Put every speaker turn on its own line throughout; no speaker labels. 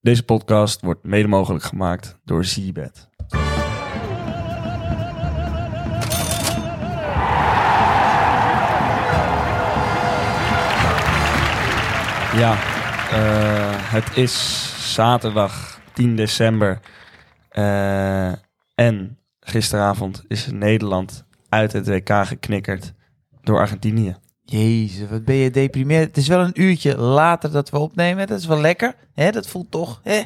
Deze podcast wordt mede mogelijk gemaakt door Seabed. Ja, eh, het is zaterdag 10 december. Eh, en gisteravond is Nederland uit het WK geknikkerd door Argentinië.
Jezus, wat ben je deprimeerd. Het is wel een uurtje later dat we opnemen. Dat is wel lekker. Hè? Dat voelt toch. Hè?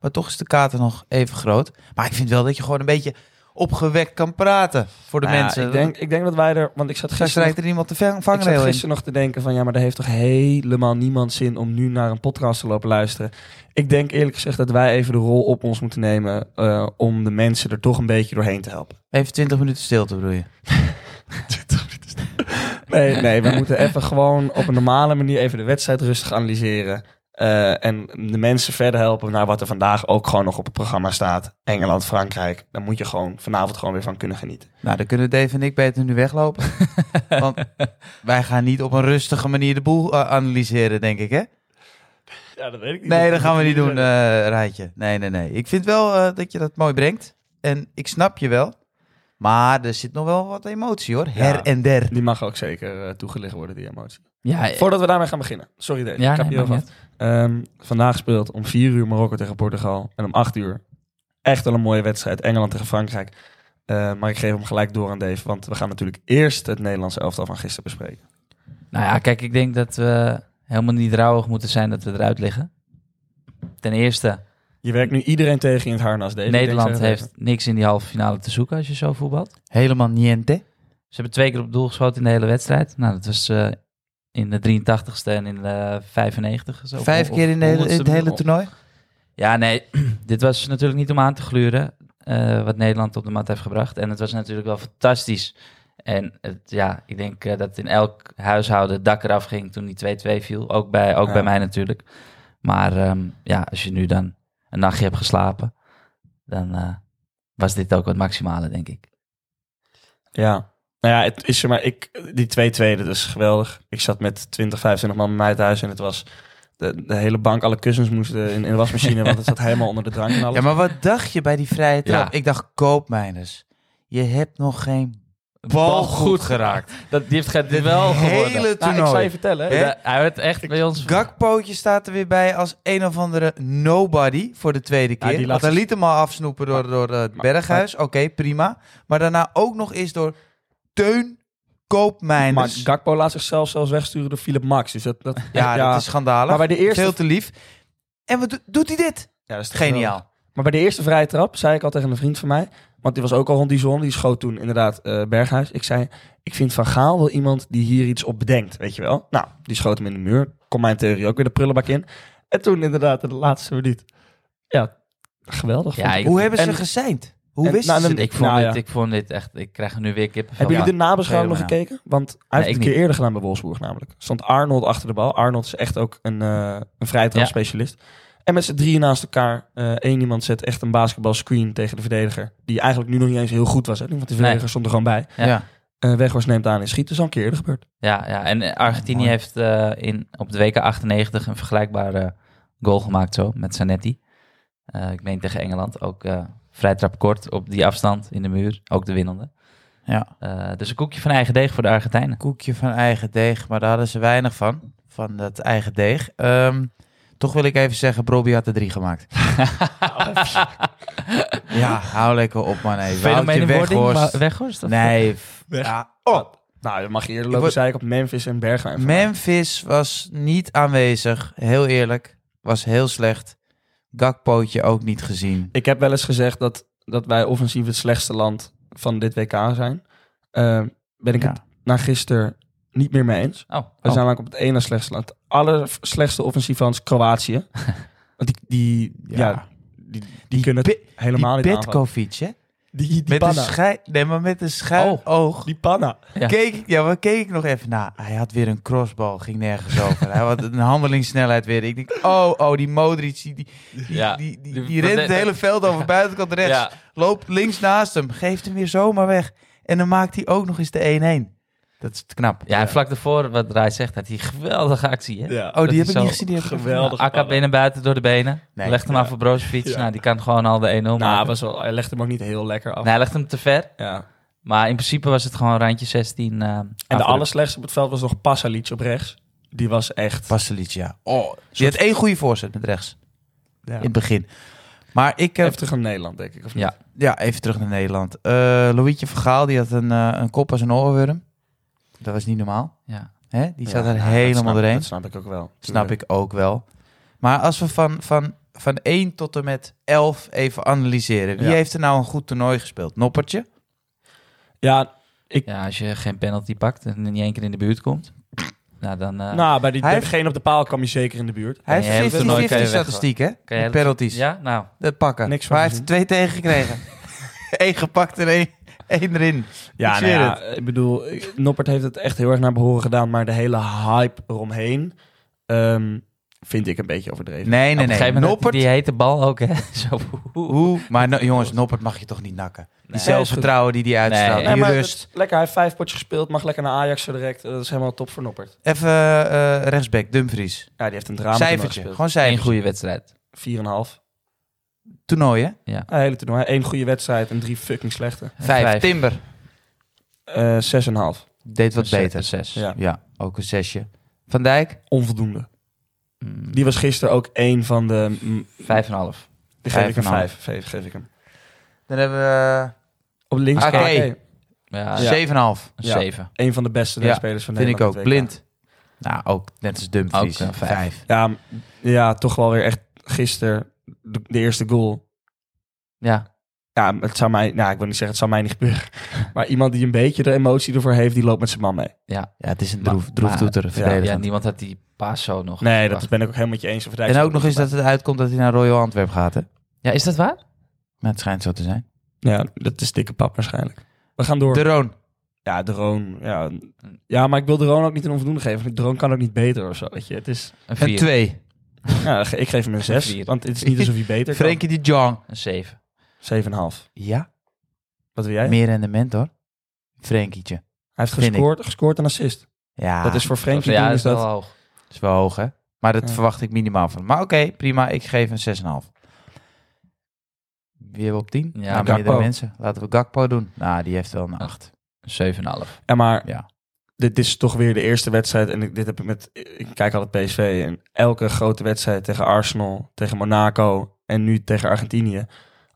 Maar toch is de kater nog even groot. Maar ik vind wel dat je gewoon een beetje opgewekt kan praten voor de
Nou ja,
mensen.
Ik denk, ik denk dat wij er... Want ik zat
Gisteren
gisteren
rijdt er iemand de vang-
Ik zat
vangrail in.
gisteren nog te denken van ja, maar daar heeft toch helemaal niemand zin om nu naar een podcast te lopen luisteren. Ik denk eerlijk gezegd dat wij even de rol op ons moeten nemen eh, om de mensen er toch een beetje doorheen te helpen.
Even 20 minuten stilte bedoel je?
Nee, nee, we moeten even gewoon op een normale manier even de wedstrijd rustig analyseren. eh, en de mensen verder helpen naar wat er vandaag ook gewoon nog op het programma staat. Engeland, Frankrijk. Daar moet je gewoon vanavond gewoon weer van kunnen genieten.
Nou, dan kunnen Dave en ik beter nu weglopen. Want wij gaan niet op een rustige manier de boel eh, analyseren, denk ik, hè?
Ja, dat weet ik niet.
Nee, dat gaan we niet doen, eh Raadje. Nee, nee, nee. Ik vind wel eh, dat je dat mooi brengt. En ik snap je wel. Maar er zit nog wel wat emotie, hoor. Her
Ja.
en der.
Die mag ook zeker eh, toegelicht worden, die emotie.
Ja, eh,
Voordat we daarmee gaan beginnen. Sorry, Dave.
ja
ik heb
nee,
je heel
maakt
wat.
niet uit.
Ehm, vandaag speelt om 4 uur Marokko tegen Portugal. En om 8 uur echt wel een mooie wedstrijd. Engeland tegen Frankrijk. Eh, maar ik geef hem gelijk door aan Dave. Want we gaan natuurlijk eerst het Nederlandse elftal van gisteren bespreken.
Nou ja, kijk, ik denk dat we helemaal niet rouwig moeten zijn dat we eruit liggen. Ten eerste,
Je werkt nu iedereen tegen in het harnas, Dave. Ik denk
Nederland
zo even.
heeft niks in die halve finale te zoeken als je zo voetbalt.
Helemaal niente.
Ze hebben twee keer op doel geschoten in de hele wedstrijd. Nou, dat was eh, in de 83ste en in de 95. Zo,
Vijf
Of-
keer in, de hele, in het
honderdste
hele
minuut.
toernooi.
Ja, nee, dit was natuurlijk niet om aan te gluren eh, wat Nederland op de mat heeft gebracht. En het was natuurlijk wel fantastisch. En het, ja, ik denk eh, dat in elk huishouden het dak eraf ging toen die 2-2 viel. Ook bij, ook
Ja.
bij mij natuurlijk. Maar ehm, ja, als je nu dan een nachtje hebt geslapen, dan eh, was dit ook het maximale, denk ik.
Ja. Nou ja, het is er maar. Ik, die 2-2, dat is geweldig. Ik zat met 20, 25 man bij mij thuis. En het was. De, de hele bank, alle kussens moesten in, in de wasmachine. want het zat helemaal onder de drank en alles.
Ja, maar wat dacht je bij die vrije trap?
Ja.
Ik dacht, koopmijners. Je hebt nog geen bal goed geraakt.
Dat, die heeft het
Dit hele
Nou, ik zal je
toernooi.
vertellen.
Hè?
Hij werd echt bij ons...
Gakpootje staat er weer bij als een of andere nobody voor de tweede
Ja, die
keer. Want
laatste-
hij liet hem al afsnoepen door, door eh, het
maar-
Berghuis. Oké, prima. Maar daarna ook nog eens door Teun
Maar
Koopmijners.
Gakpo laat zichzelf zelfs wegsturen door Philip Max. Dus dat, dat,
ja, dat is schandalig.
Maar bij de eerste-
Veel te lief. En wat do- doet hij dit?
Ja, dat is toch geweldig.
Geniaal.
Maar bij de eerste vrije trap zei ik al tegen een vriend van mij, want die was ook al rond die zon, die schoot toen inderdaad eh, Berghuis. Ik zei, ik vind Van Gaal wel iemand die hier iets op bedenkt, weet je wel. Nou, die schoot hem in de muur, kon mijn theorie ook weer de prullenbak in. En toen inderdaad de laatste minuut. Ja, geweldig.
Ja,
vond ik.
ik-
Hoe hebben ze
en-
gezeind? Hoe
en-
wisten
nou,
ze
dan-
dit?
Ik vond,
Nou ja.
dit, ik vond dit echt... Ik krijg er nu weer kippenvel.
Hebben jullie de nabeschouwing nog
Ja.
gekeken? Want hij
Nee,
heeft
ik
het een keer eerder gedaan bij Wolfsburg namelijk. Stond Arnold achter de bal. Arnold is echt ook een, eh een vrije trap
Ja.
specialist. En met z'n drieën naast elkaar. eh één iemand zet echt een basketbalscreen tegen de verdediger. Die eigenlijk nu nog niet eens heel goed was. Hè? Want de verdediger stond er gewoon bij.
Ja.
Ja.
Eh Weghorst neemt aan en schiet. Dat is al een keer eerder gebeurd.
Ja, ja, en Argentinië
Mooi.
heeft eh, in, op de WK 98 een vergelijkbare eh, goal gemaakt zo, met Zanetti. Eh, ik meen tegen Engeland, ook eh vrij trap kort op die afstand in de muur, ook de winnende.
ja.
Eh, dus een koekje van eigen deeg voor de Argentijnen.
Koekje van eigen deeg, maar daar hadden ze weinig van. Van dat eigen deeg. Ehm, toch wil ik even zeggen, Broby had er drie gemaakt.
Oh,
ja, hou lekker op man. Hey. Woutje
Fenomeen in wording,
Weghorst.
maar- Weghorst? of-
Nee. f-
Weg.
Ja, oh.
Nou, dan mag je eerder
Ik
lopen,
word-
zei ik, op Memphis en Bergwijn.
Memphis was niet aanwezig. Heel eerlijk. Was heel slecht. Gakpootje ook niet gezien.
Ik heb wel eens gezegd dat, dat wij offensief het slechtste land van dit WK zijn. Eh, ben ik
Ja.
het na gisteren niet meer mee eens.
Oh,
We
oh.
zijn namelijk op het ene slechtste land. Het allerslechtste offensief van is Kroatië. Want die, die, ja. die, die, kunnen het
Pe-
helemaal
die
niet aanvallen.
Petkovic, hè?
Die, die,
Met een,
panna.
schij, nee, maar met een schuin
Oh.
oog.
Die panna.
Ja.
Keek, ik- ja, maar keek ik nog even na. Hij had weer een crossbal, ging nergens over. Hij had een handelingssnelheid weer. Ik denk, oh, oh, die Modric, die, die, die,
Ja.
die, die,
Die-
die rent het hele veld over buitenkant rechts.
Ja,
Loopt links naast hem, geeft hem weer zomaar weg. En dan maakt hij ook nog eens de 1-1. Dat is te knap.
oh. Ja, en vlak daarvoor, wat Rai zegt, had hij een geweldige actie. Hè?
Ja.
Oh, die
Dat
heb ik
is
niet
zo
gezien. Die heb ik
geweldig. Nou,
gemist.
Akka
ballen.
binnen buiten door de benen.
Nee.
Legt hem
Ja.
aan voor Brozovic.
Ja.
Nou, die kan gewoon al de 1-0 maken.
Nou, was wel, hij legde hem ook niet heel lekker af.
Nee, hij legt hem te ver.
Ja.
Maar in principe was het gewoon randje 16. eh
En de
afdruk.
allerslechtste op het veld was nog Pasalic op rechts. Die was echt...
Pasalic, ja. Oh, die had één goede voorzet met rechts.
Ja.
In het begin. Maar ik heb...
Even terug aan Nederland, denk ik. Of niet?
Ja.
Ja, even terug naar Nederland. Eh Loïtje Vergaal, die had een, eh, een kop als een oorworm. Dat was niet normaal.
Ja.
Hè? Die zat
Ja,
er
nou, dat
helemaal
snap-
doorheen.
Dat snap ik ook wel.
Snap ik ook wel. Maar als we van, van, van 1 tot en met 11 even analyseren. Wie
Ja.
heeft er nou een goed toernooi gespeeld? Noppertje?
Ja,
ja, als je geen penalty pakt en niet één keer in de buurt komt. Nou, dan eh,
nou, bij die,
Hij
bij
heeft-
degene op de paal kwam je zeker in de buurt.
Hij
je hele
heeft 50-50
toernooi kan je weg-
statistiek, hè?
kan je
Met
hele-
penalties.
Ja, nou.
Dat pakken.
Niks van
maar hij heeft er twee tegen gekregen. Eén gepakt en één, één erin.
Ja,
Ik
nou
zweer
ja, ik bedoel, ik- Noppert heeft het echt heel erg naar behoren gedaan, maar de hele hype eromheen ehm, vind ik een beetje overdreven.
Nee, nee,
op een
nee.
gegeven moment had
Noppert.
die, die hete bal ook, hè. Zo, oeh.
Hoe? Maar no- jongens, Noppert mag je toch niet nakken. Die
Nee.
zelfvertrouwen die die uitstraalt.
Nee,
die
maar dat
rust.
is lekker, hij heeft vijf potjes gespeeld, mag lekker naar Ajax zo direct. Dat is helemaal top voor Noppert.
Even eh, rechtsback, Dumfries.
Ja, die heeft een drama
cijfertje,
toernooi
gewoon
Eén
cijfertje.
goede wedstrijd.
gespeeld. 4,5.
Toernooien.
Een hele toernooi. Eén goede wedstrijd en drie fucking slechte.
Vijf. Timber
Eh 6,5.
deed wat
Zes-
beter.
Zes.
Ja.
Ja, ook een zesje. Van Dijk,
Onvoldoende.
Mm,
Die was gisteren ook één van de... mm,
Vijf en een half.
die geef
Vijf
ik een
en een
vijf. Vijf geef ik hem.
dan hebben we eh,
Op links.
Oké.
AK.
Ja,
eh,
ze-
zeven en een half.
een
Ja.
zeven.
Eén van de beste
Ja,
spelers van
Vind
Nederland.
ik ook.
op het WK.
Blind. Nou, ook net als Dumfries.
Ook, eh, vijf.
Ja, m- ja, toch wel weer echt gisteren de, de eerste goal.
Ja.
Ja, het zou mij, nou, ik wil niet zeggen, het zou mij niet gebeuren. Maar iemand die een beetje de emotie ervoor heeft, die loopt met zijn man mee.
Ja, het is een
Maar-
droef, droeftoeter,
maar-
verdedigend.
ja, niemand had die paas zo nog.
Nee, dat
verwacht.
ben ik ook helemaal met je eens. Van Dijk
En
is
ook nog eens dat het uitkomt dat hij naar Royal Antwerp gaat, hè?
Ja, is dat waar?
Maar het schijnt zo te zijn.
Ja, dat is dikke pap waarschijnlijk. We gaan door.
De Roon.
Ja, Droon. Ja. ja, maar ik wil Droon ook niet een onvoldoende geven. want Droon kan ook niet beter of zo, weet je. Het is,
Een
Een
vier.
twee.
ja, ge- ik geef hem een 6,
Vier.
want het is niet alsof hij beter kan.
Frenkie de Jong.
Een zeven.
7,5.
Ja,
Wat wil jij? Hij
meer rendement, hoor. Frenkietje.
heeft
vind ik. Ah,
gescoord, gescoord en assist.
Ja,
dat is voor Frenkie
ja,
doen,
dat
is
is wel
dat...
hoog.
dat is wel hoog, hè? Maar dat
Ja.
verwacht ik minimaal van. Maar oké, prima. Ik geef een 6,5. Wie hebben we op 10?
Ja,
Ja,
Gakpo.
meerdere mensen. Laten we Gakpo doen. Nou, die heeft wel een 8.
Een zeven en een half.
Ja, maar
Ja.
dit, dit is toch weer de eerste wedstrijd. En ik, dit heb ik met. Ik kijk altijd PSV. En elke grote wedstrijd tegen Arsenal, tegen Monaco en nu tegen Argentinië.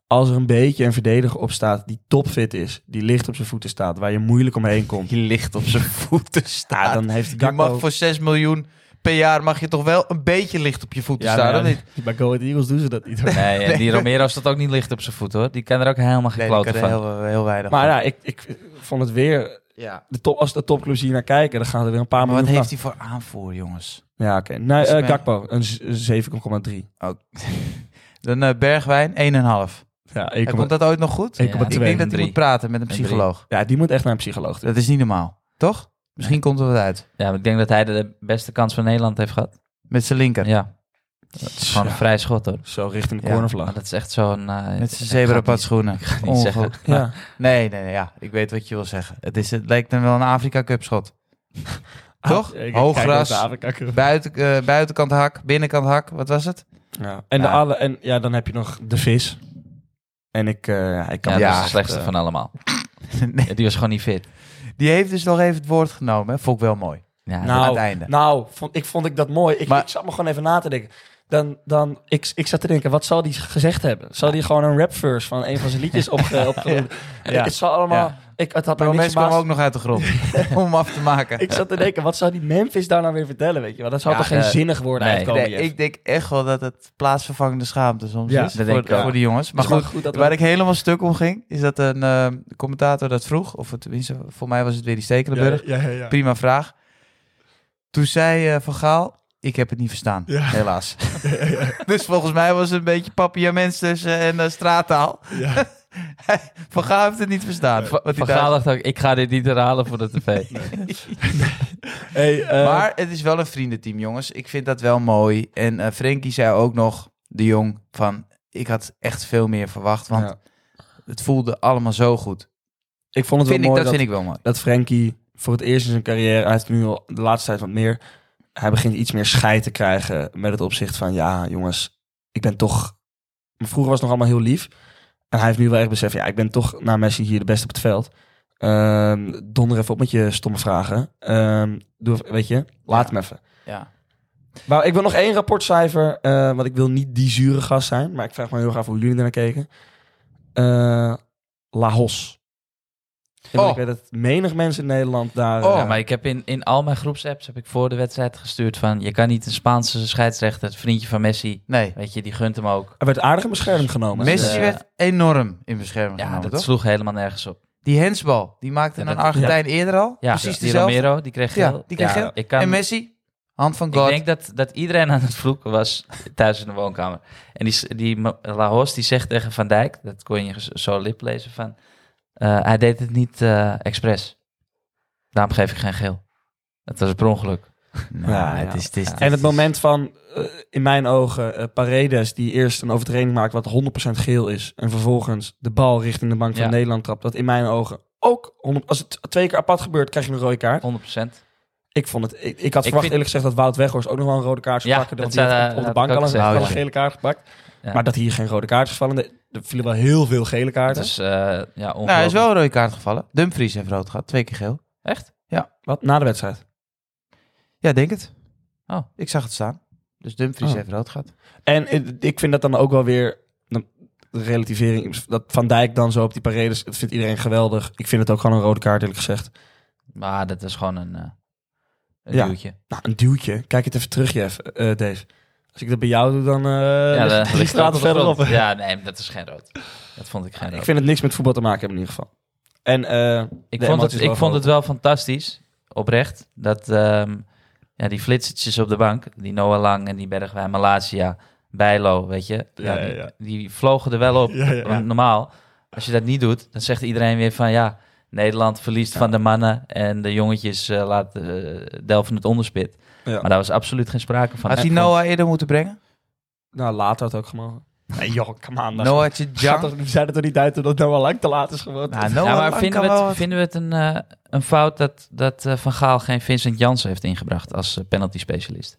Als er een beetje een verdediger op staat die topfit is, die licht op zijn voeten staat, waar je moeilijk omheen komt,
Die ligt op zijn voeten staan.
ja, dan heeft
Je
Gakpo...
mag voor 6 miljoen per jaar mag je toch wel een beetje licht op je voeten
Ja,
staan,
maar
of niet?
ja, Bij Go Ahead Eagles doen ze dat niet. hoor.
Nee, en die Romero staat ook niet licht op zijn voet hoor. Die kan er ook helemaal
Nee,
geen
die
klote
kan er
van.
heel, heel weinig
Maar
van.
ja, ik, ik vond het weer...
ja.
De top, als de topclubs hier naar kijken, dan gaan er weer een paar
Maar wat
miljoen
heeft hij voor aanvoer, jongens?
vanaf. Ja, oké. Nou,
Dus
eh,
ik ben-
Gakpo, een z- 7,3.
Dan eh, Bergwijn, 1,5.
Ja,
En Komt
1,2.
dat ooit nog goed?
Ja,
Ik denk dat hij
drie.
moet praten met een
Een drie.
psycholoog.
Ja, die moet echt naar een psycholoog. toe.
Dat is niet normaal, toch? Misschien komt er wat uit.
Ja, maar ik denk dat hij de beste kans van Nederland heeft gehad.
Met zijn linker.
Ja, gewoon een vrij schot hoor.
Zo richting de
Ja.
Maar
cornervlag.
dat is echt zo'n...
Met
eh,
zijn
ik ga het
zebrapad
niet-
schoenen.
Ik ga het niet zeggen.
Ja.
Nee, nee, nee, ja. Ik weet wat je wil zeggen. Het, is, het lijkt dan wel een Afrika Cup schot. Toch?
Ja, ik- ik
Hoog
kijk
gras.
naar de Afrika-cup.
Buiten, eh, buitenkant hak, binnenkant hak. Wat was het?
Ja. En, de
Ja.
alle, en ja, dan heb je nog de vis. En ik, eh, ik kan
Ja,
me
dat
Ja,
is de
echt,
slechtste
eh,
van allemaal.
Nee,
Ja, Die was gewoon niet fit.
Die heeft dus nog even het woord genomen. hè. Vond ik wel mooi.
Ja,
Nou,
aan het einde.
Nou, vond, ik vond ik dat mooi. Ik,
Maar-
ik zat me gewoon even na te denken. Dan, dan, ik, ik zat te denken, wat zal die gezegd hebben? Zal die gewoon een rapverse van een van zijn liedjes op, op
Ja.
Het zal allemaal... Ik, het had mij
Maar
niks
mensen kwamen
verbaasd.
ook nog uit de grond. om hem af te maken.
Ik zat te denken, wat zou die Memphis daar nou weer vertellen, weet je wel? Dat zou
Ja,
toch geen
eh,
zinnig worden
nee.
uitkomen?
Nee, ik denk echt wel dat het plaatsvervangende schaamte soms
Ja,
is.
dat
voor,
denk ik ook. Dus
voor die jongens. Maar goed,
dat we-
waar ik helemaal stuk om ging, is dat een eh, commentator dat vroeg. Of het, tenminste, voor mij was het weer die Stekelenburg.
Ja, ja, ja, ja.
Prima vraag. Toen zei eh, Van Gaal, ik heb het niet verstaan.
Ja.
Helaas. dus volgens mij was het een beetje papiaments tussen en eh, straattaal.
Ja.
Van Gaal heeft het niet verstaan.
Va-
Wat hij
Van
daar-
Gaal dacht ook, ik ga dit niet herhalen voor de tv.
Hey, eh,
Maar het is wel een vriendenteam, jongens. Ik vind dat wel mooi. En eh Frenkie zei ook nog, de jong, van... Ik had echt veel meer verwacht, want
ja.
het voelde allemaal zo goed.
Ik vond het
Vind
wel mooi
ik, dat,
dat,
vind ik wel mooi.
dat Frenkie voor het eerst in zijn carrière, hij heeft nu al de laatste tijd wat meer, hij begint iets meer scheid te krijgen met het opzicht van, ja jongens, ik ben toch, vroeger was het nog allemaal heel lief. En hij heeft nu wel echt beseft, ja, ik ben toch na Messi hier de beste op het veld. Ehm, donder even op met je stomme vragen. Ehm, doe, even- weet je, laat hem even.
Ja.
Maar ik wil nog één rapportcijfer, eh, want ik wil niet die zure gast zijn. Maar ik vraag me heel graag hoe jullie ernaar keken. Eh Laos. En
Oh.
Ik weet dat menig mensen in Nederland daar...
Oh,
eh,
maar ik heb in, in al mijn groepsapps heb ik voor de wedstrijd gestuurd van... je kan niet een Spaanse scheidsrechter, het vriendje van Messi...
Nee.
weet je, die gunt hem ook.
Er werd aardig in bescherming genomen. hè?
Messi
eh,
werd enorm in bescherming
Ja,
genomen,
dat
toch?
sloeg helemaal nergens op.
Die hensbal, die maakte
Ja,
een
dat-
Argentijn eerder al.
Ja,
Precies
die
dezelfde.
Romero, die kreeg
Ja,
geel.
die kreeg geel.
Ik kan,
En Messi, hand van
Ik
God.
denk dat, dat iedereen aan het vloeken was thuis in de woonkamer. En die, s- die Ma- Lahos die zegt tegen Van Dijk, dat kon je z- zo lip lezen van, eh, hij deed het niet eh, expres. Daarom geef ik geen geel. Het was per ongeluk.
Nou,
Ja,
het is, het is,
En het moment van, eh, in mijn ogen, eh, Paredes... die eerst een overtreding maakt wat 100% geel is... en vervolgens de bal richting de bank van
Ja.
Nederland trapt... dat in mijn ogen ook... 100 als het twee keer apart gebeurt, krijg je een rode kaart.
100 procent.
Ik, vond het, ik, ik had
Ik
verwacht
vind-
eerlijk gezegd dat Wout Weghorst ook nog wel een rode kaart zou
Ja,
pakken. Want
dat
die
zou-
heeft op, op de
had
bank
ik ook
al een,
gezegd.
al een
Ja.
gele kaart gepakt.
Ja.
Maar dat hier geen rode kaart is gevallen. de- Er vielen wel heel veel gele kaarten.
Dus, eh ja,
Nou, hij
ongelooflijk.
is wel een rode kaart gevallen. Dumfries heeft rood gehad, twee keer geel.
Echt?
Wat? Na de wedstrijd.
Ja, denk het.
Oh.
Ik zag het staan. Dus Dumfries
Oh.
heeft rood gehad.
En eh, ik vind dat dan ook wel weer... dan- De relativering, dat Van Dijk dan zo op die paredes, dat vindt iedereen geweldig. Ik vind het ook gewoon een rode kaart, eerlijk gezegd.
Maar dat is gewoon een, eh een
Ja.
duwtje.
Nou, een duwtje. Kijk het even terug, Jeff, eh, Dave. Als ik dat bij jou doe, dan eh
ja,
lig je
dat
drie
ligt
straten
ook op de
verderop.
grond. Ja, nee, maar dat is geen rood. Dat vond ik geen rood.
Ik vind het niks met voetbal te maken hebben in ieder geval. En eh,
Ik
de
vond,
emoties
het, ik
wel
vond het wel fantastisch, oprecht, dat ehm, ja, die flitsertjes op de bank, die Noah Lang en die Bergwijn, Malaysia, Bijlo, weet je, ja,
Ja, ja,
die,
ja.
die vlogen er wel op.
Ja, ja, ja.
Want normaal, als je dat niet doet, dan zegt iedereen weer van ja, Nederland verliest van de mannen en de jongetjes eh, laten eh, delven het onderspit.
Ja.
Maar daar was absoluut geen sprake van.
Had hij
Ik
Noah eerder moeten brengen?
Nou, later had het ook gemogen. Nee joh, come on.
Noah Tjejang?
we zijn er toch niet uit dat nou al lang te laat is geworden.
Nou,
vond-
Noah
ja, maar
Lang
vinden
kan
we,
wel
het,
wat.
vinden we het een, eh, een fout dat, dat eh, Van Gaal geen Vincent Jansen heeft ingebracht als eh, penalty specialist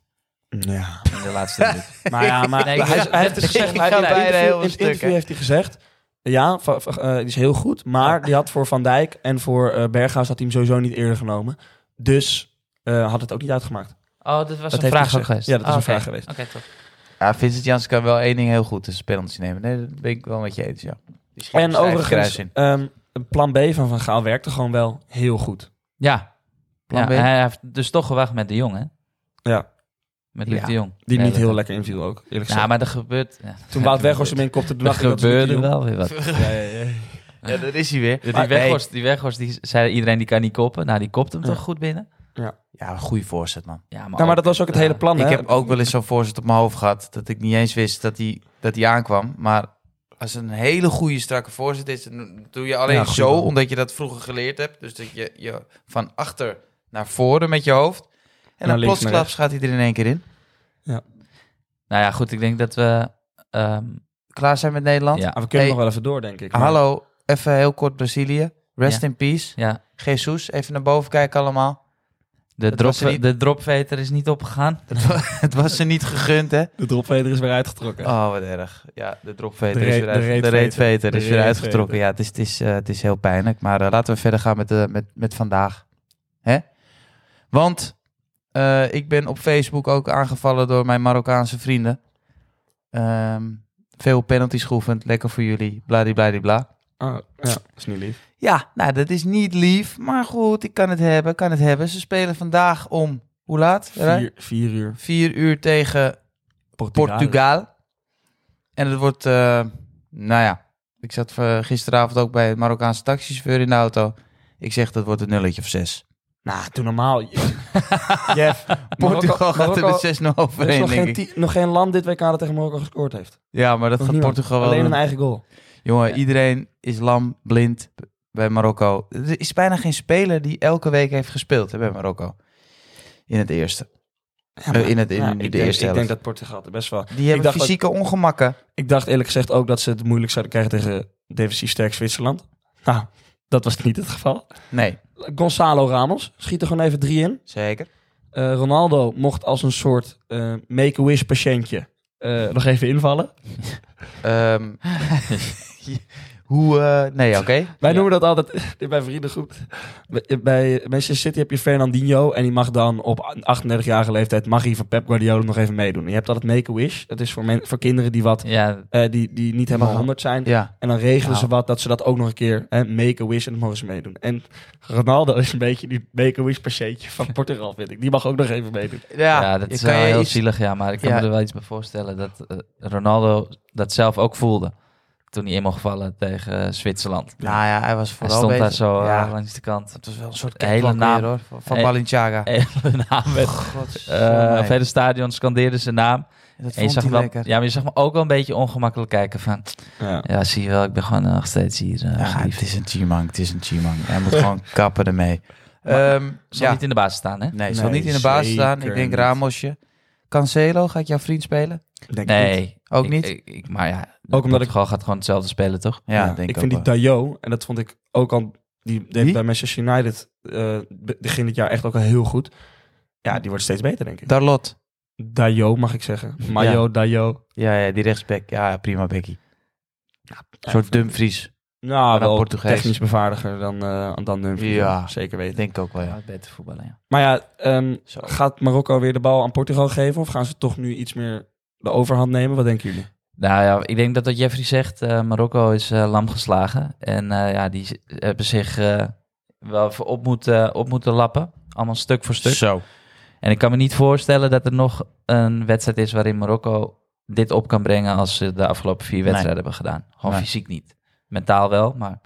ja.
in de laatste minuut?
Maar ja, maar
Nee, ik-
hij, hij heeft het
ik
gezegd.
ga
Hij heeft in het
beide
interview,
heel
in het
stuk,
interview
hè.
heeft hij gezegd. Ja, va- va- eh, die is heel goed. Maar die had voor Van Dijk en voor eh, Berghuis had hij hem sowieso niet eerder genomen. Dus eh, had het ook niet uitgemaakt.
Oh, dat was
Dat
een
heeft hij
vraag ook
gezegd.
geweest.
Ja, dat is
Oh,
een
oké.
vraag geweest.
Oké, toch.
Ja, Vincent Jansen kan wel één ding heel goed, dus penalty nemen. Nee, dat ben ik wel met je eens, ja. Die schiet
En
zijn eigen kruis
overigens,
in.
ehm, plan B van Van Gaal werkte gewoon wel heel goed.
Ja.
Plan
Ja,
B.
hij heeft dus toch gewacht met de jong, hè?
Ja.
Met Luc
Ja.
de Jong.
Die
Ja,
niet
dat-
heel lekker inviel ook, eerlijk
Ja,
gezegd.
maar er gebeurt... Ja.
Toen Wout Weghorst hem inkopte, toen
Er
dacht ik dat het
gebeurde
niet
wel weer wat.
viel. Ja, ja, ja.
Ja, daar is hij weer.
Die
Maar-
Weghorst, die Weghorst, die zei iedereen die kan niet koppen. Nou, die kopt hem
Ja.
toch goed binnen?
nee. Ja, goede voorzet, man.
Ja, maar,
Nou, maar dat was ook het
Ja.
hele plan,
Ik
hè?
heb ook wel eens zo'n voorzet op mijn hoofd gehad dat ik niet eens wist dat die, dat die aankwam. Maar als het een hele goede strakke voorzet is, dan doe je alleen
Ja, goed
zo,
wel.
omdat je dat vroeger geleerd hebt. Dus dat je, je van achter naar voren met je hoofd.
Naar
En dan
links, naar
plotsklaps gaat hij er in één keer in.
Nou ja, goed, ik denk dat we... ehm,
Klaar zijn met Nederland.
ja.
Ah, we kunnen
Hey.
nog wel even door, denk ik. maar-
Hallo, even heel kort Brazilië. Rest
Ja.
in peace.
ja,
Jesus, even naar boven kijken allemaal.
de,
Dat was er
drop,
niet.
de dropveter is niet opgegaan.
het was ze niet gegund, hè?
De dropveder is weer uitgetrokken.
Oh, wat erg. Ja, de dropveter
De
is
reet-
weer, uit,
de
de
reetveter.
reetveter
De
is weer
reetveter.
uitgetrokken. Ja, het is, het, is, eh, het is heel pijnlijk. Maar eh, laten we verder gaan met, de, met, met vandaag. Hè? Want eh, ik ben op Facebook ook aangevallen door mijn Marokkaanse vrienden. Ehm, veel penalties geoefend. Lekker voor jullie. Bladibladibla.
Ah, ja, dat is niet lief.
Ja, nou, dat is niet lief. Maar goed, ik kan het hebben. Kan het hebben. Ze spelen vandaag om... Hoe laat? Ray?
Vier, vier uur.
Vier uur tegen Portugal. En het wordt, eh, nou ja, ik zat eh, gisteravond ook bij het Marokkaanse taxichauffeur in de auto. Ik zeg dat wordt een nulletje of zes.
Nou, doe normaal. Jeff.
Portugal gaat
Marokko-
er de 6-0
Er is
overheen,
nog
denk
geen,
ik.
ti- nog geen land dit WK dat tegen Marokko gescoord heeft.
Ja, maar dat
Nog
gaat
niemand.
Portugal wel
Alleen
doen.
een eigen goal.
Jongen,
Ja.
iedereen is lam, blind b- bij Marokko. Er is bijna geen speler die elke week heeft gespeeld hè, bij Marokko. In het eerste.
Ja,
Eh, in het, in
ja,
de
ik,
eerste
denk, ik
helft.
denk dat Portugal er best wel...
Die hebben
dacht dat-
fysieke ongemakken.
Ik dacht eerlijk gezegd ook dat ze het moeilijk zouden krijgen tegen defensief sterk Zwitserland. Nou, Dat was niet het geval.
Nee,
Gonzalo Ramos schiet er gewoon even drie in.
zeker.
Eh, Ronaldo mocht als een soort eh, make-a-wish patiëntje eh, nog even invallen.
Ehm, hoe... eh, nee, oké.
Wij
Ja.
noemen dat altijd in mijn vriendengroep. Bij- Bij Manchester City heb je Fernandinho en die mag dan op 38-jarige leeftijd mag hij van Pep Guardiola nog even meedoen. En je hebt altijd make-a-wish. Dat is voor, men- voor kinderen die, wat,
Ja,
eh, die, die niet helemaal
Ja.
100 zijn.
Ja.
En dan regelen ze
Nou.
wat dat ze dat ook nog een keer hè, make a wish en dat mogen ze meedoen. En Ronaldo is een beetje die make a wish patiëntje van Portugal, vind ik. Die mag ook nog even meedoen.
ja,
Ja,
dat
je
is
kan
wel
je
heel
iets-
zielig, ja. Maar ik kan
Ja.
me er wel iets bij voorstellen dat eh, Ronaldo dat zelf ook voelde. Toen hij in mocht vallen tegen eh, Zwitserland.
Nou ja, hij was
Hij
vooral
stond
bezig.
daar zo eh,
ja,
langs de kant.
Het was wel een soort
Hele
hele
naam.
naam hoor, van van
Eh,
Balenciaga.
En hun naam werd, eh, op
Godsamme.
het hele stadion scandeerde zijn naam.
dat
En je
vond
zag
hij
hem wel,
lekker.
ja, maar je zag me ook wel een beetje ongemakkelijk kijken van...
Ja.
Ja, zie je wel, ik ben gewoon eh, nog steeds hier. eh,
Ja,
lief.
het is een Chimang, het is een Chimang. Hij moet gewoon kappen ermee. Ehm,
eh, Zal
ja.
niet in de baas staan, hè?
Nee, zal
Nee,
niet in de baas
zeker
staan. Ik denk
niet.
Ramosje. Cancelo, gaat jouw vriend spelen?
Nee.
Ook
Ik-
niet?
Ik, ik- maar ja,
omdat ik-
Portugal gaat gewoon hetzelfde spelen, toch?
Ja,
Ja, ik
denk ook
vind die
wel.
Dayo, en dat vond ik ook al... Die deed
Wie?
bij Manchester United eh, be- begin dit jaar echt ook al heel goed. Ja, die wordt steeds beter, denk ik.
Darlot.
Dayo mag ik zeggen. Mayo, Dayo.
Ja, ja, die rechtsback. Ja, prima Becky. Een soort Dumfries.
Nou,
dan
wel
Portugees.
technisch bevaardiger dan, eh dan Dumfries.
Ja.
Zeker
Ik
weten.
denk ook wel, ja.
Ja, beter voetballen, ja.
Maar ja, ehm,
Zo.
gaat Marokko weer de bal aan Portugal geven? Of gaan ze toch nu iets meer de overhand nemen? Wat denken jullie?
Nou ja, ik denk dat wat Jeffrey zegt, eh, Marokko is eh, lam geslagen. En eh, ja, die z- hebben zich eh, wel even op moeten, op moeten lappen. Allemaal stuk voor stuk.
Zo.
En ik kan me niet voorstellen dat er nog een wedstrijd is waarin Marokko dit op kan brengen als ze de afgelopen vier wedstrijden hebben gedaan. Gewoon
Nee.
fysiek niet. Mentaal wel, maar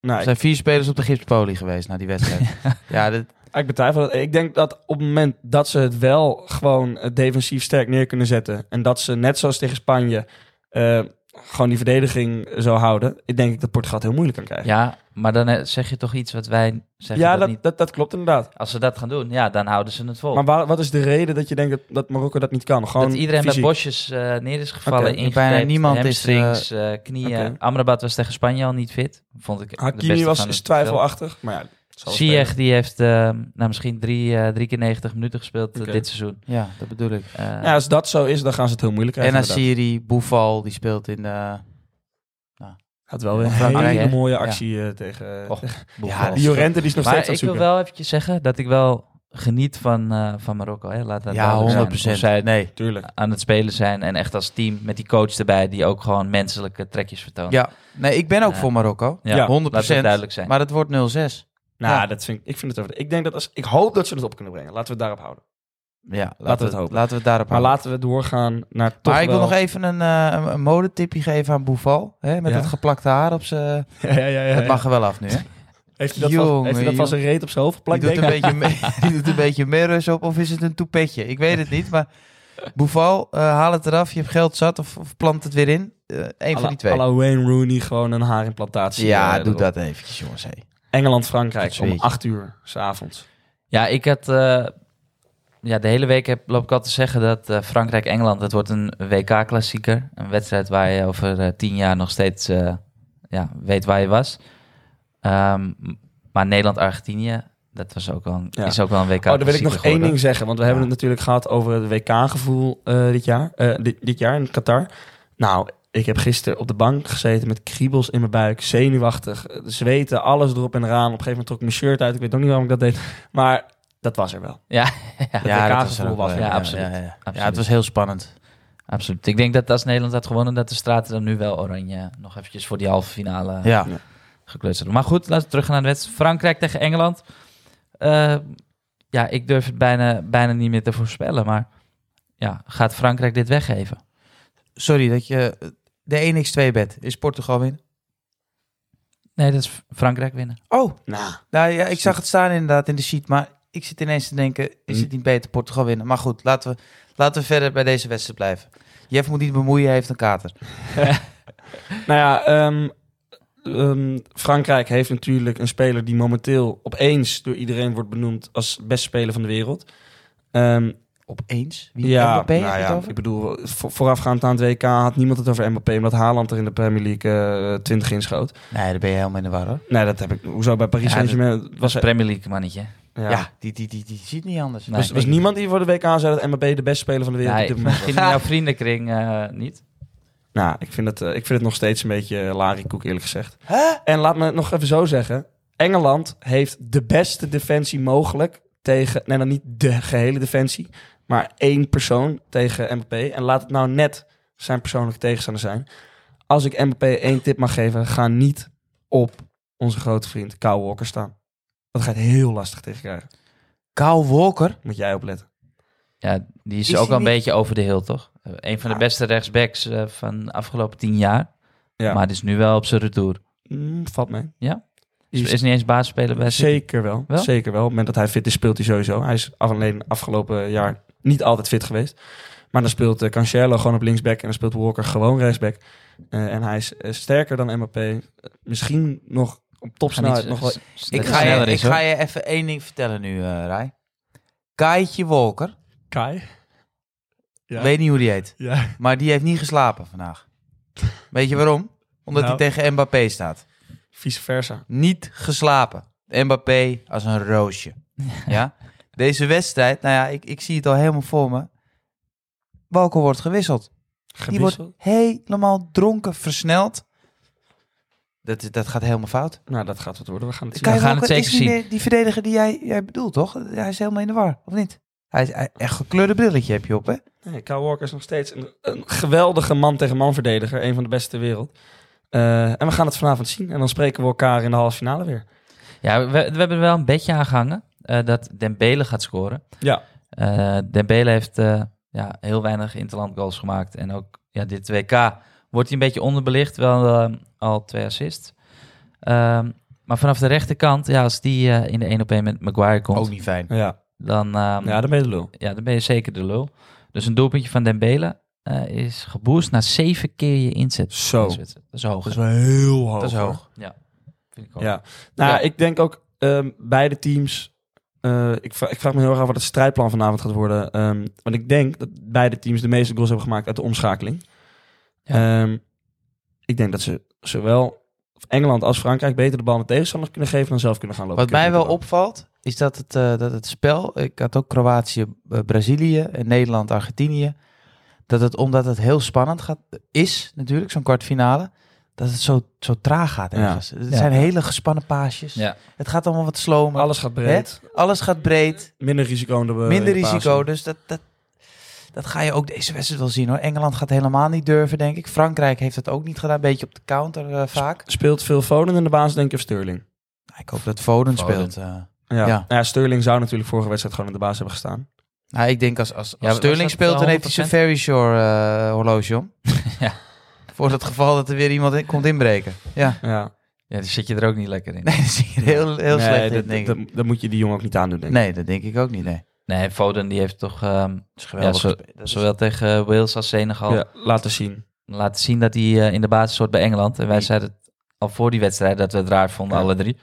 Nou,
Er zijn vier spelers op de gipspolie geweest na die wedstrijd. ja, dat,
Ik betwijfel dat. Ik denk dat op het moment dat ze het wel gewoon eh, defensief sterk neer kunnen zetten. En dat ze net zoals tegen Spanje eh, gewoon die verdediging zo houden. Ik denk dat Portugal het heel moeilijk kan krijgen.
ja, maar dan eh, zeg je toch iets wat wij zeggen
Ja,
dat
dat,
niet.
dat, dat klopt inderdaad.
Als ze dat gaan doen, ja, dan houden ze het vol.
Maar waar- wat is de reden dat je denkt dat, dat Marokko dat niet kan? Gewoon
dat iedereen
fysiek.
bij bosjes eh, neer is gevallen.
Oké,
ingeknepen,
bijna niemand is, eh,
hamstrings, eh, knieën.
oké.
Amrabat was tegen Spanje al niet fit. Vond ik de
Hakimi
beste
was,
van
is
het veld.
twijfelachtig. Maar ja, het zal wel
Ziyech
spelen.
die heeft eh, nou, misschien drie, eh, drie keer 90 minuten gespeeld eh,
Oké.
dit seizoen.
ja, dat bedoel ik.
Eh,
Ja, als dat zo is, dan gaan ze het heel moeilijk
En
krijgen. inderdaad.
Asiri, Boufal, die speelt in eh, de...
Had wel weer een
Frankrijk,
hele
hè?
mooie actie eh, tegen...
Och,
tegen-
Boefal.
Ja,
die Jorente die is nog
maar
steeds aan het
ik wil
zoeken.
wel eventjes zeggen dat ik wel geniet van, eh, van Marokko. Hè. Laat dat
Ja,
duidelijk zijn.
100
Hoe zij
Nee.
Tuurlijk.
aan het spelen zijn en echt als team met die coach erbij die ook gewoon menselijke trekjes vertoont.
Ja, nee, ik ben ook
Ja.
voor Marokko.
Ja,
100
Laat dat duidelijk zijn.
Maar het wordt 0-6.
Nou,
Ja.
dat vind ik, ik vind het over. Ik denk dat als ik hoop dat ze het op kunnen brengen. Laten we het daarop houden.
Ja, laten,
we het
we het
hopen.
Laten we het daarop
Maar
houden.
laten we doorgaan naar toch
Maar ik wil
wel-
nog even een, eh, een- een modetipje geven aan Boufal. Hè, met
Ja.
dat geplakte haar op zijn...
Ja, ja, ja, ja,
Het
ja.
mag er wel af nu, hè?
Heeft hij dat,
Jongen,
vast, heeft hij dat vast een reet op zijn hoofd
Die
geplakt?
doet, een
denk ik?
beetje me- die doet een beetje mirrors op of is het een toepetje? Ik weet het niet, maar Boufal, eh, haal het eraf. Je hebt geld zat of, of plant het weer in. Eén
Alla-
van die twee.
alla Wayne Rooney gewoon een haarimplantatie. eh,
ja, doe
erop.
dat eventjes, jongens. hé.
Engeland-Frankrijk
Dat
om
weet je.
8 uur s'avonds.
Ja, ik had. eh, ja, de hele week heb, loop ik al te zeggen dat eh, Frankrijk-Engeland. Het wordt een WK-klassieker. Een wedstrijd waar je over eh, tien jaar nog steeds eh, ja, weet waar je was. Ehm, maar Nederland-Argentinië. Dat was ook wel een,
Ja.
is ook wel een
Oh,
WK.
dan wil ik nog één ding zeggen. Want we hebben
Ja.
het natuurlijk gehad over het WK-gevoel eh, dit, jaar, eh, dit, dit jaar in Qatar. Nou, ik heb gisteren op de bank gezeten met kriebels in mijn buik, zenuwachtig, eh, zweten, alles erop en eraan. Op een gegeven moment trok ik mijn shirt uit. Ik weet ook niet waarom ik dat deed. Maar dat was er wel.
Ja,
WK
dat
gevoel
er ook
was
wel,
er.
Ja, absoluut.
Ja, ja, ja.
Absoluut.
ja, het was heel spannend.
absoluut. Ik denk dat als Nederland had gewonnen, dat de straten dan nu wel oranje eh, nog eventjes voor die halve finale eh,
Ja.
gekleurd zouden. Maar goed, laten we teruggaan naar de wedstrijd. Frankrijk tegen Engeland. Eh, ja, ik durf het bijna, bijna niet meer te voorspellen. Maar ja, gaat Frankrijk dit weggeven?
Sorry dat je... eh, De 1x2 bet. Is Portugal win?
Nee, dat is Frankrijk winnen.
Oh,
Nou,
nou ja, ik zag het Hm. staan inderdaad in de sheet. Maar ik zit ineens te denken, is het niet beter Portugal winnen? Maar goed, laten we, laten we verder bij deze wedstrijd blijven. Jeff moet niet bemoeien, hij heeft een kater.
Nou ja, ehm, ehm, Frankrijk heeft natuurlijk een speler die momenteel opeens door iedereen wordt benoemd als beste speler van de wereld. Ehm,
opeens. Wie
Ja,
Mbappé heb je
nou
het
ja,
over?
ik bedoel, vo- voorafgaand aan het WK had niemand het over Mbappé, omdat Haaland er in de Premier League eh 20 inschoot.
Nee, daar ben je helemaal in de war hoor.
Nee, dat heb ik. Hoezo bij Paris
Ja,
Saint-Germain was
Was
er.
Premier League mannetje.
Ja,
Ja.
die, die, die, die ziet niet anders.
Nee.
was, was niemand die voor de WK zei dat Mbappé de beste speler van de wereld
Nee,
op dit moment was.
in jouw vriendenkring eh, niet.
Nou, ik vind, het, eh, ik vind het nog steeds een beetje eh, larikoek, eerlijk gezegd.
Hè?
En laat me het nog even zo zeggen. Engeland heeft de beste defensie mogelijk tegen... Nee, dan niet de gehele defensie. Maar één persoon tegen Mbappé. En laat het nou net zijn persoonlijke tegenstander zijn. Als ik Mbappé één tip mag geven... ga niet op onze grote vriend Kyle Walker staan. Dat gaat heel lastig tegen krijgen.
Kyle Walker.
Moet jij opletten.
Ja, die is,
Is
ook
hij
wel een
niet-
beetje over de hill, toch? Eh, Een van de
Ja.
beste rechtsbacks eh, van de afgelopen tien jaar.
Ja.
Maar het is nu wel op zijn retour.
Mm, valt mee.
Ja?
Die
Is,
is-
is niet eens basisspeler bij City.
Zeker wel,
Wel?
Zeker wel. Op het moment dat hij fit is, speelt hij sowieso. Hij is af- alleen afgelopen jaar niet altijd fit geweest. Maar dan speelt eh, Cancelo gewoon op linksback en dan speelt Walker gewoon rechtsback. Eh, en hij is eh, sterker dan MAP. Eh, misschien nog op
Maar niet
topsnelheid nog wel.
s- s-
Ik
dat
ga,
hij
je,
sneller
ik
is, hoor.
ga je even één ding vertellen nu, eh Rai. Kaitje Walker.
Kai? Ja.
Weet niet hoe die heet.
Ja.
Maar die heeft niet geslapen vandaag. Weet je waarom? Omdat
Nou.
hij tegen Mbappé staat.
Vice versa.
Niet geslapen. Mbappé als een roosje. ja? Deze wedstrijd, nou ja, ik, ik zie het al helemaal voor me. Walker wordt gewisseld. Die wordt
Gewisseld.
helemaal dronken, versneld. Dat, dat gaat helemaal fout.
Nou, dat gaat wat worden. We gaan het zien.
Kyle
gaan
Walker
het zeker
is niet
zien.
meer die verdediger die jij, jij bedoelt, toch? Hij is helemaal in de war, of niet? Hij is hij- echt gekleurde brilletje heb je op, hè?
Nee, Kyle Walker is nog steeds een, een geweldige man-tegen-man verdediger. Een van de beste ter wereld. Eh, en we gaan het vanavond zien. En dan spreken we elkaar in de halve finale weer.
Ja, we, we hebben er wel een bedje aan gehangen eh, dat Dembele gaat scoren.
Ja.
Eh, Dembele heeft eh, ja, heel weinig interland goals gemaakt. En ook ja, dit WK wordt hij een beetje onderbelicht. Wel eh, al twee assists. Ehm, maar vanaf de rechterkant, ja, als die eh, in de 1 op 1 met Maguire komt,
Ook niet fijn.
Ja,
dan, ehm,
ja
ja.
dan ben je de lul.
dan ben je zeker de lul. Dus een doelpuntje van Dembele eh, is geboost na zeven keer je inzet.
Zo.
Dat is hoog. hè?
wel heel hoog.
Dat is hoog.
Ja, vind ik ook.
Dus- Ja. Nou,
Ja.
ik denk ook ehm, beide teams. eh, ik, vraag, ik vraag me heel erg af wat het strijdplan vanavond gaat worden. Ehm, want ik denk dat beide teams de meeste goals hebben gemaakt uit de omschakeling.
Ja.
Ehm, ik denk dat ze zowel Engeland als Frankrijk beter de bal aan de tegenstander kunnen geven dan zelf kunnen gaan lopen.
Wat mij wel
Kippen met
opvalt, is dat het, eh, dat het spel, ik had ook Kroatië, eh, Brazilië en Nederland, Argentinië, dat het omdat het heel spannend gaat, is natuurlijk, zo'n kwartfinale, dat het zo, zo traag gaat
Ja.
ergens. Het
Ja.
zijn hele gespannen paasjes.
Ja.
Het gaat allemaal wat
de
slomer.
bal. Alles gaat breed.
Alles gaat breed,
Minder risico in de
Eh,
in
minder
de paas.
risico. Dus dat, dat, dat ga je ook deze wedstrijd wel zien hoor. Engeland gaat helemaal niet durven, denk ik. Frankrijk heeft dat ook niet gedaan, een beetje op de counter eh, vaak.
Speelt veel Foden in de baas, denk ik, of Sterling?
Ik hoop dat Foden,
Foden.
speelt. eh.
Ja.
Ja.
Nou ja, Sterling zou natuurlijk vorige wedstrijd gewoon in de baas hebben gestaan.
Nou, ik denk als, als,
Ja,
als
was dat
Sterling speelt, dan heeft hij zijn
100%?
Ferry Shore eh, horloge om.
Ja.
Voor het geval dat er weer iemand in, komt inbreken. Ja.
Ja.
Ja, die zit je er ook niet lekker in.
Nee, dat zie je er heel, heel
Nee,
slecht
dat-
in, denk ik.
dat, dat moet je die jongen ook niet aandoen, denk ik.
Nee, dat denk ik ook niet, nee.
Nee, Foden die heeft toch ehm,
Dat is geweldig.
Ja, zo-
gespe- dat is-
zowel tegen Wales als Senegal
Ja, laten zien.
laten zien dat hij eh, in de basis hoort bij Engeland. En wij
Die-
zeiden het al voor die wedstrijd dat we het raar vonden,
Ja.
alle drie.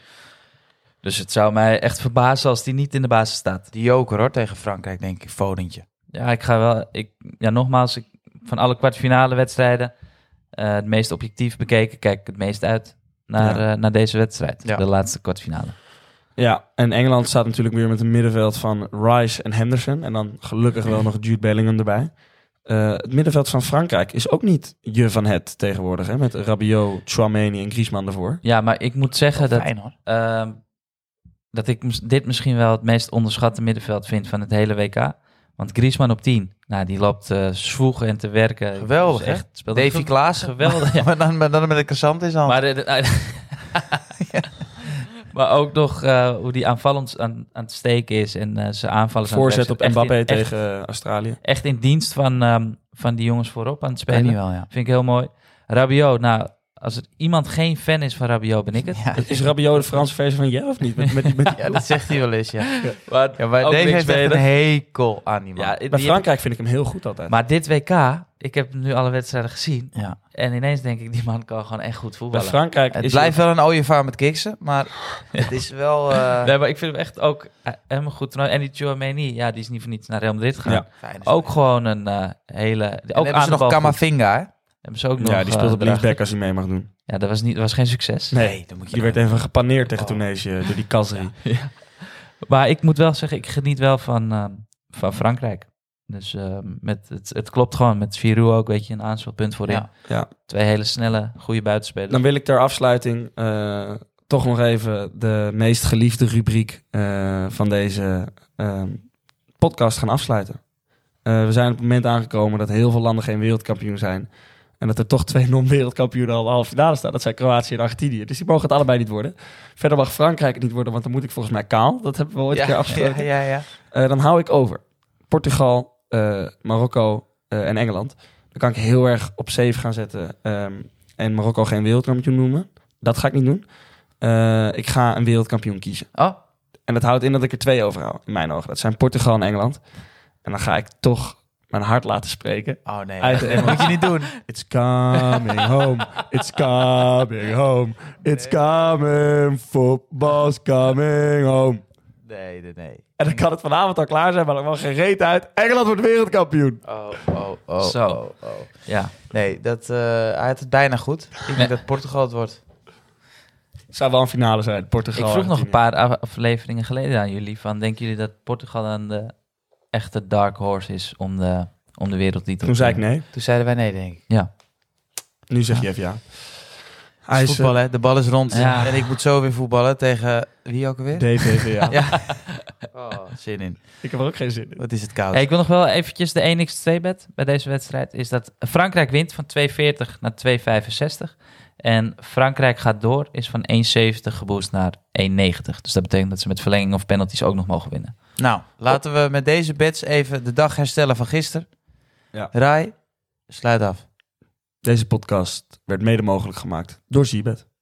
Dus het zou mij echt verbazen als die niet in de basis staat.
Die joker hoor, tegen Frankrijk, denk ik. Fodentje.
Ja, ik ga wel. Ik, ja, nogmaals, ik, van alle kwartfinale wedstrijden eh, het meest objectief bekeken, kijk ik het meest uit naar, eh, naar deze wedstrijd.
Ja.
De laatste kwartfinale.
Ja, en Engeland staat natuurlijk weer met een middenveld van Rice en Henderson. En dan gelukkig wel nog Jude Bellingham erbij. Eh, het middenveld van Frankrijk is ook niet je van het tegenwoordig. Hè? Met Rabiot, Chouameni en Griezmann ervoor.
Ja, maar ik moet zeggen dat
Fijn hoor.
Ehm, dat ik mis- dit misschien wel het meest onderschatte middenveld vind van het hele WK. Want Griezmann op 10, nou, die loopt eh zwoegen en te werken.
Geweldig,
Dus
hè?
speelt
Davy
goed.
Klaassen.
Geweldig, ja.
maar, dan, maar dan met een kassant in zijn hand.
Maar, de- de- maar ook nog eh, hoe die aanvallend aan, aan het steken is en eh zijn aanvallen zijn aan het
Voorzet op
wijzen. Echt
Mbappé
in- echt-
tegen eh, Australië.
Echt, in dienst van, ehm, van die jongens voorop aan het
Kan
spelen.
wel, ja.
Vind ik heel mooi. Rabiot, nou, eh, Als er iemand geen fan is van Rabiot, ben ik het.
Ja,
Is Rabiot de Franse versie van jij of niet? Met, met, met,
ja, dat zegt hij wel eens, ja.
Maar,
ja maar
ook
deze heeft echt
linksbenen.
een hekel aan die man.
Ja, die
bij
heb
Frankrijk vind ik hem heel goed altijd.
ik- maar dit WK, ik heb nu alle wedstrijden gezien.
Ja.
En ineens denk ik, die man kan gewoon echt goed
bij
voetballen.
Frankrijk
Het
is
blijft wel een ooievaar met kiksen, maar het is wel... eh,
Nee, maar ik vind hem echt ook eh, helemaal goed. toernooi. En die Chouameni, ja, die is niet voor niets naar Real Madrid gegaan.
Ja.
fijn is
Ook
het.
gewoon een eh, hele...
En
Ook
hebben
aan
ze
de
nog
bal goed.
Kamavinga, hè?
Hebben ze ook nog...
ja, die speelt
eh,
op
erachter.
linksback als hij mee mag doen.
Ja, dat was, niet, dat was geen succes.
Nee,
dan moet
Die werd even gepaneerd tegen
Oh.
Tunesië door die Kazri.
Maar ik moet wel zeggen, ik geniet wel van, ehm, van Frankrijk. Dus ehm, met, het, het klopt gewoon. Met Giroud ook, weet je, een aanspelpunt voorin.
Ja.
Ja.
Twee hele snelle, goede buitenspelers.
eh, Dan wil ik ter afsluiting eh, toch nog even de meest geliefde rubriek eh, van deze ehm, podcast gaan afsluiten. Eh, we zijn op het moment aangekomen dat heel veel landen geen wereldkampioen zijn. En dat er toch twee non-wereldkampioenen al in de halve finale staan. Dat zijn Kroatië en Argentinië. Dus die mogen het allebei niet worden. Verder mag Frankrijk het niet worden, want dan moet ik volgens mij kaal. Dat hebben we ooit een keer afgesproken.
Ja, ja, ja.
Eh, dan hou ik over. Portugal, eh, Marokko eh, en Engeland. Dan kan ik heel erg op safe gaan zetten. ehm, en Marokko geen wereldkampioen noemen. Dat ga ik niet doen. Eh, ik ga een wereldkampioen kiezen.
Oh,
En dat houdt in dat ik er twee overhoud, in mijn ogen. Dat zijn Portugal en Engeland. En dan ga ik toch mijn hart laten spreken.
Oh nee,
Uit-
dat moet je niet doen.
It's coming home. It's coming home. It's coming. Football's coming home.
Nee, nee, nee.
En dan kan het vanavond al klaar zijn, maar dan mag geen reet uit. Engeland wordt wereldkampioen.
Oh, oh, oh,
Zo.
oh, oh.
ja.
Nee, dat, eh, hij had het bijna goed. Ik
Nee.
denk dat Portugal het wordt.
zou wel een finale zijn,
Ik
Portugal.
vroeg nog een
Argentinië.
paar af- afleveringen geleden aan jullie. Van, denken jullie dat Portugal dan de echte dark horse is om de, om de wereldtitel?
Toen
te
zei ik
winnen?
nee.
Toen zeiden wij nee, denk ik.
Ja.
Nu zeg je even ja.
Het
Hij is
is
eh,
voetbal, hè? De bal is rond.
Ja.
En ik moet zo weer voetballen tegen wie ook alweer?
DVVA.
Ja. Oh, zin in.
Ik heb er ook geen zin in.
Wat is het koud.
Hey, ik wil nog wel eventjes de 1x2-bet bij deze wedstrijd. Is dat Frankrijk wint van 2,40 naar 2,65. En Frankrijk gaat door, is van 1,70 geboost naar 1,90. Dus dat betekent dat ze met verlenging of penalties ook nog mogen winnen.
Nou, laten we met deze bets even de dag herstellen van gisteren.
Ja.
Rai, sluit af.
Deze podcast werd mede mogelijk gemaakt door Zibet.